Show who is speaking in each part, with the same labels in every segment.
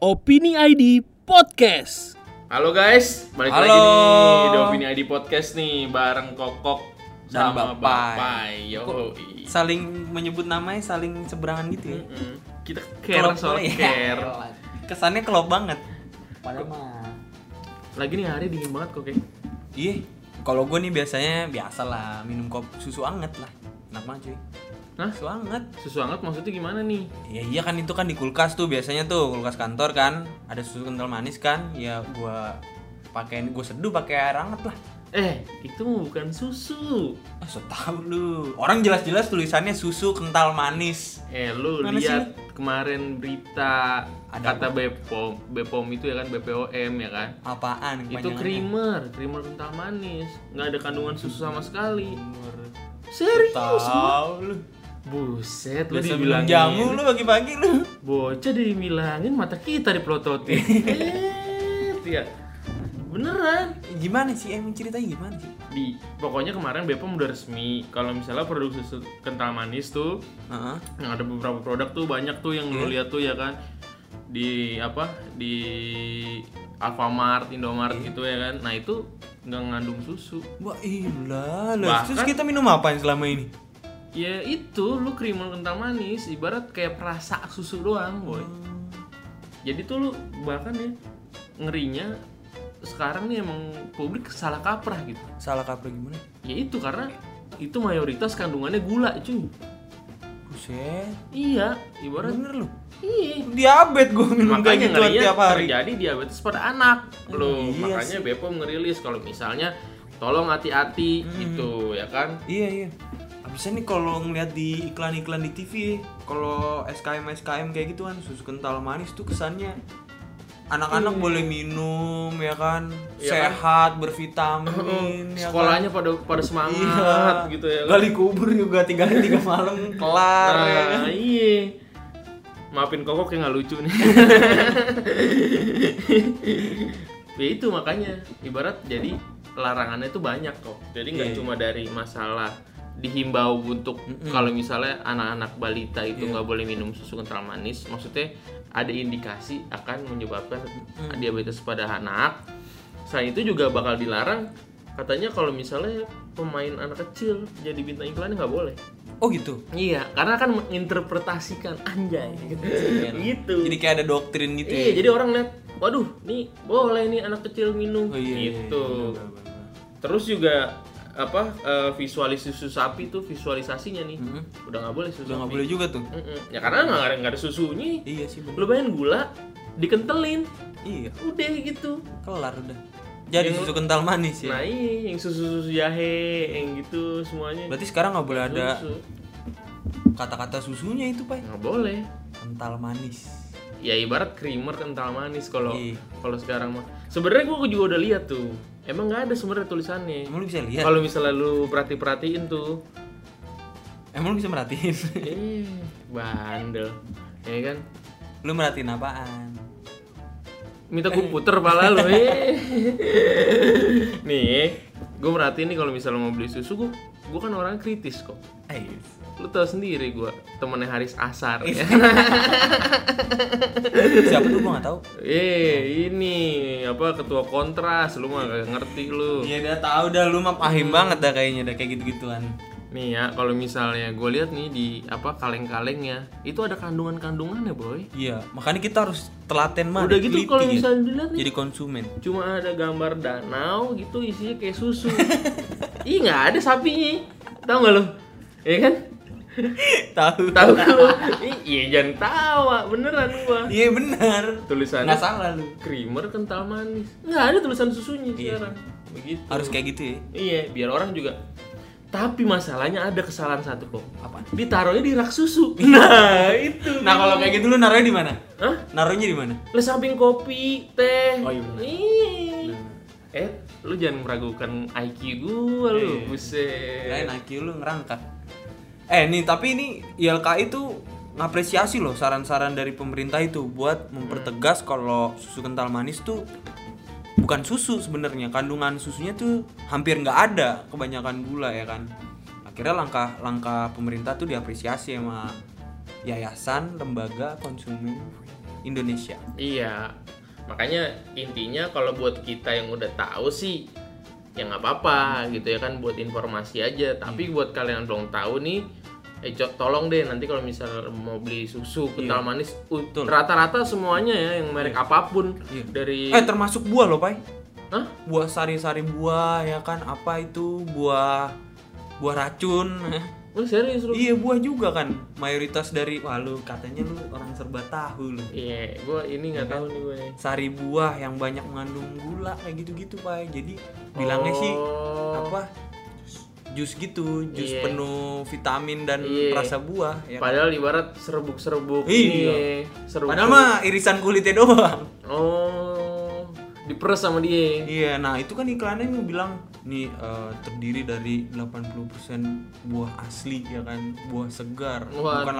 Speaker 1: Opini ID Podcast.
Speaker 2: Halo guys, balik
Speaker 3: Halo.
Speaker 2: lagi nih di Opini ID Podcast nih bareng Kokok
Speaker 3: Dan
Speaker 2: sama
Speaker 3: Bapai.
Speaker 2: Bapai. Yoi.
Speaker 3: saling menyebut namanya saling seberangan gitu ya
Speaker 2: Mm-mm. Kita care
Speaker 3: Klop
Speaker 2: soal
Speaker 3: banget.
Speaker 2: care.
Speaker 3: kesannya kelop banget
Speaker 4: Padahal mah
Speaker 2: Lagi nih hari dingin banget kok. Kek.
Speaker 3: iya kalau gue nih biasanya biasa lah minum kopi susu anget lah enak banget cuy
Speaker 2: Hah?
Speaker 3: susu anget
Speaker 2: Susu hangat maksudnya gimana nih?
Speaker 3: ya iya kan itu kan di kulkas tuh biasanya tuh kulkas kantor kan ada susu kental manis kan ya gue pakein gue seduh pakai air anget lah
Speaker 2: Eh, itu bukan susu.
Speaker 3: ah so tau lu orang jelas-jelas tulisannya susu kental manis
Speaker 2: Eh, lu
Speaker 3: Mana sih
Speaker 2: lihat kemarin berita
Speaker 3: Ada
Speaker 2: kata Bepom, Bepom itu ya kan BPOM ya kan?
Speaker 3: apaan
Speaker 2: Itu
Speaker 3: kepanjangannya?
Speaker 2: creamer, creamer kental manis, nggak ada kandungan susu sama sekali.
Speaker 3: Tahu
Speaker 2: Serius?
Speaker 3: lu
Speaker 2: Buset, lu
Speaker 3: biasa
Speaker 2: dibilangin
Speaker 3: minum jamu
Speaker 2: gitu.
Speaker 3: lu pagi-pagi lu
Speaker 2: Bocah dibilangin mata kita dipelototin. eh, iya. Beneran.
Speaker 3: gimana sih emang ceritanya gimana sih
Speaker 2: Di pokoknya kemarin Bepom udah resmi kalau misalnya produk susu kental manis tuh
Speaker 3: Heeh.
Speaker 2: yang ada beberapa produk tuh banyak tuh yang lu
Speaker 3: Hmm?
Speaker 2: lihat tuh ya kan di apa di Alfamart, Indomart
Speaker 3: Hmm.
Speaker 2: gitu ya kan. Nah, itu nggak ngandung susu.
Speaker 3: Wah ilah, lah. terus
Speaker 2: Bahkan-
Speaker 3: kita minum apa selama ini?
Speaker 2: Ya itu lu krimer kental manis ibarat kayak perasa susu doang, boy.
Speaker 3: Hmm.
Speaker 2: Jadi tuh lu bahkan ya ngerinya sekarang nih emang publik salah kaprah gitu.
Speaker 3: Salah kaprah gimana?
Speaker 2: Ya itu karena itu mayoritas kandungannya gula, cuy.
Speaker 3: Buset,
Speaker 2: Iya, ibarat
Speaker 3: bener lu.
Speaker 2: iya.
Speaker 3: Diabet gue minum kayak gitu tiap hari.
Speaker 2: terjadi diabetes pada anak
Speaker 3: Iya
Speaker 2: Loh, makanya Bepom ngerilis kalau misalnya tolong hati-hati
Speaker 3: Hmm.
Speaker 2: gitu ya kan
Speaker 3: Iya iya. Abisnya nih kalau ngeliat di iklan-iklan di TV, kalau SKM SKM kayak gitu kan susu kental manis tuh kesannya anak-anak boleh minum ya kan,
Speaker 2: Iya kan?
Speaker 3: sehat, bervitamin, ya kan?
Speaker 2: sekolahnya pada pada semangat
Speaker 3: Iya.
Speaker 2: gitu ya kan?
Speaker 3: Gali kubur juga tiga hari tiga malam kelar. ya kan?
Speaker 2: Nah, iya. Maafin kokok yang nggak lucu nih. ya itu makanya ibarat jadi larangannya itu banyak kok. Jadi nggak
Speaker 3: Iya.
Speaker 2: cuma dari masalah dihimbau untuk kalau misalnya anak-anak balita itu
Speaker 3: Iya.
Speaker 2: nggak boleh minum susu kental manis, maksudnya ada indikasi akan menyebabkan diabetes pada anak. Selain itu juga bakal dilarang katanya kalau misalnya pemain anak kecil jadi bintang iklannya nggak boleh.
Speaker 3: Oh gitu.
Speaker 2: Iya, karena kan menginterpretasikan anjay gitu. gitu.
Speaker 3: Iya. Jadi kayak ada doktrin gitu.
Speaker 2: iya,
Speaker 3: ya.
Speaker 2: jadi orang lihat, waduh, nih boleh nih anak kecil minum
Speaker 3: Oh, iya, iya,
Speaker 2: gitu.
Speaker 3: iya, bener, bener, bener.
Speaker 2: Terus juga apa eh, visualis susu sapi tuh visualisasinya nih
Speaker 3: Mhm.
Speaker 2: udah nggak boleh susu
Speaker 3: Udah nggak
Speaker 2: sapi.
Speaker 3: boleh juga tuh.
Speaker 2: Mm-mm. Ya karena nggak ada- nggak ada susunya.
Speaker 3: Iya sih bener.
Speaker 2: Lu bayangin gula dikentelin,
Speaker 3: Iya,
Speaker 2: udah gitu.
Speaker 3: kelar udah. Jadi
Speaker 2: Yang-
Speaker 3: susu kental manis ya.
Speaker 2: Nah, iya, yang susu-susu jahe, yang gitu semuanya.
Speaker 3: Berarti sekarang nggak boleh ada
Speaker 2: Susu.
Speaker 3: kata-kata susunya itu, Pak.
Speaker 2: Nggak boleh.
Speaker 3: Kental manis.
Speaker 2: ya ibarat creamer kental manis kalau
Speaker 3: Iya.
Speaker 2: kalau sekarang mah sebenarnya gua juga udah lihat tuh emang nggak ada sebenarnya tulisannya
Speaker 3: Emang lu bisa lihat?
Speaker 2: kalau misalnya lu perhati perhatiin tuh
Speaker 3: Emang lu bisa merhatiin?
Speaker 2: eh bandel ya kan
Speaker 3: lu merhatiin apaan?
Speaker 2: minta gua puter pala lu eh. nih gua merhatiin nih kalau misalnya mau beli susu gua gua kan orang kritis kok
Speaker 3: Ayo.
Speaker 2: lu tau sendiri gua temennya Haris Asar ya.
Speaker 3: Siapa tuh gua nggak tahu.
Speaker 2: eh ini apa ketua kontras lu mah nggak ngerti lu
Speaker 3: Iya udah tahu dah lu mah pahim banget dah kayaknya dah kayak gitu-gituan.
Speaker 2: Nih ya, kalau misalnya gue lihat nih di apa kaleng-kalengnya, itu ada kandungan-kandungannya, boy.
Speaker 3: Iya, makanya kita harus telaten banget.
Speaker 2: Udah gitu
Speaker 3: teliti
Speaker 2: kalau
Speaker 3: ya.
Speaker 2: misalnya dilihat nih,
Speaker 3: jadi konsumen.
Speaker 2: cuma ada gambar danau gitu isinya kayak susu. Ih, nggak ada sapinya. Tahu nggak lo? Iya kan?
Speaker 3: tahu.
Speaker 2: Tahu lo? Ih, Iya, jangan tawa, beneran gua.
Speaker 3: Iya benar.
Speaker 2: Tulisannya
Speaker 3: Nggak salah lu.
Speaker 2: creamer kental manis. Nggak ada tulisan susunya sekarang. Begitu.
Speaker 3: Iya. Harus kayak gitu ya.
Speaker 2: Iya, biar orang juga. Tapi masalahnya ada kesalahan satu kok.
Speaker 3: Apaan?
Speaker 2: Ditaruhnya di rak susu. Nah, itu.
Speaker 3: Nah kalau kayak gitu lu naruhnya di mana?
Speaker 2: Hah?
Speaker 3: Naruhnya di mana?
Speaker 2: Lu samping kopi, teh.
Speaker 3: Oh, iya bener.
Speaker 2: Ih. Eh, lu jangan meragukan IQ gua lu.
Speaker 3: Kirain
Speaker 2: Buset.
Speaker 3: IQ lu ngerangkak. Eh nih tapi ini YLKI itu ngapresiasi loh saran-saran dari pemerintah itu buat mempertegas kalau susu kental manis tuh bukan susu sebenarnya kandungan susunya tuh hampir nggak ada kebanyakan gula ya kan akhirnya langkah langkah pemerintah tuh diapresiasi sama yayasan lembaga konsumen Indonesia.
Speaker 2: Iya, makanya intinya kalau buat kita yang udah tahu sih ya nggak apa-apa gitu ya kan buat informasi aja. Tapi
Speaker 3: Iya.
Speaker 2: buat kalian yang belum tahu nih, eh Cok, tolong deh nanti kalau misal mau beli susu kental manis, u-
Speaker 3: Iya. Betul.
Speaker 2: rata-rata semuanya ya yang merek apapun
Speaker 3: Iya.
Speaker 2: dari
Speaker 3: Eh termasuk buah loh, Pai.
Speaker 2: Hah?
Speaker 3: Buah sari-sari buah ya kan apa itu buah buah racun.
Speaker 2: Lu serius lu?
Speaker 3: iya, buah juga kan. Mayoritas dari wah lu katanya lu orang serba tahu lu.
Speaker 2: Iya, gua ini nggak
Speaker 3: kan?
Speaker 2: tahu nih gue.
Speaker 3: Sari buah yang banyak mengandung gula kayak gitu-gitu, Pai. Jadi bilangnya sih
Speaker 2: Oh,
Speaker 3: apa? Jus gitu, jus
Speaker 2: Iya.
Speaker 3: penuh vitamin dan
Speaker 2: Iya.
Speaker 3: rasa buah ya. kan?
Speaker 2: Padahal ibarat serbuk-serbuk
Speaker 3: Iya.
Speaker 2: nih, serbuk.
Speaker 3: Padahal mah irisan kulitnya doang.
Speaker 2: Oh, diperes sama dia.
Speaker 3: Iya, nah itu kan iklannya yang bilang nih eh, terdiri dari 80% buah asli ya kan, buah segar,
Speaker 2: Waduh.
Speaker 3: bukan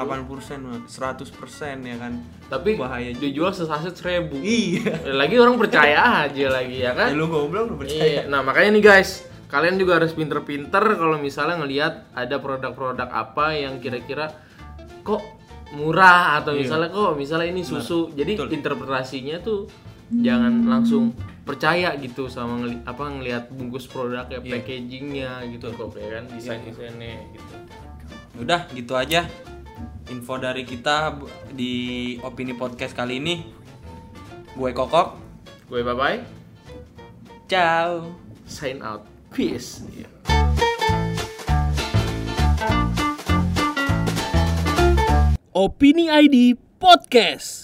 Speaker 3: 80%, Mak. 100% ya kan.
Speaker 2: Tapi
Speaker 3: bahaya juga.
Speaker 2: dijual sesaset seribu.
Speaker 3: Iya.
Speaker 2: lagi orang percaya aja lagi ya
Speaker 3: Ya,
Speaker 2: kan
Speaker 3: lu goblok lu
Speaker 2: iya
Speaker 3: percaya.
Speaker 2: nah makanya nih guys kalian juga harus pinter-pinter kalau misalnya ngelihat ada produk-produk apa yang kira-kira kok murah atau
Speaker 3: Iya.
Speaker 2: misalnya kok misalnya ini susu jadi interpretasinya tuh jangan langsung percaya gitu sama ngeli- apa ngelihat bungkus produknya
Speaker 3: Iya.
Speaker 2: packagingnya gitu kok ya kan desain desainnya gitu
Speaker 3: Iya. Udah gitu aja info dari kita bu- di opini podcast kali ini. Gue Kokok.
Speaker 2: gue bye bye
Speaker 3: Ciao.
Speaker 2: sign out peace Iya.
Speaker 1: Opini ID Podcast.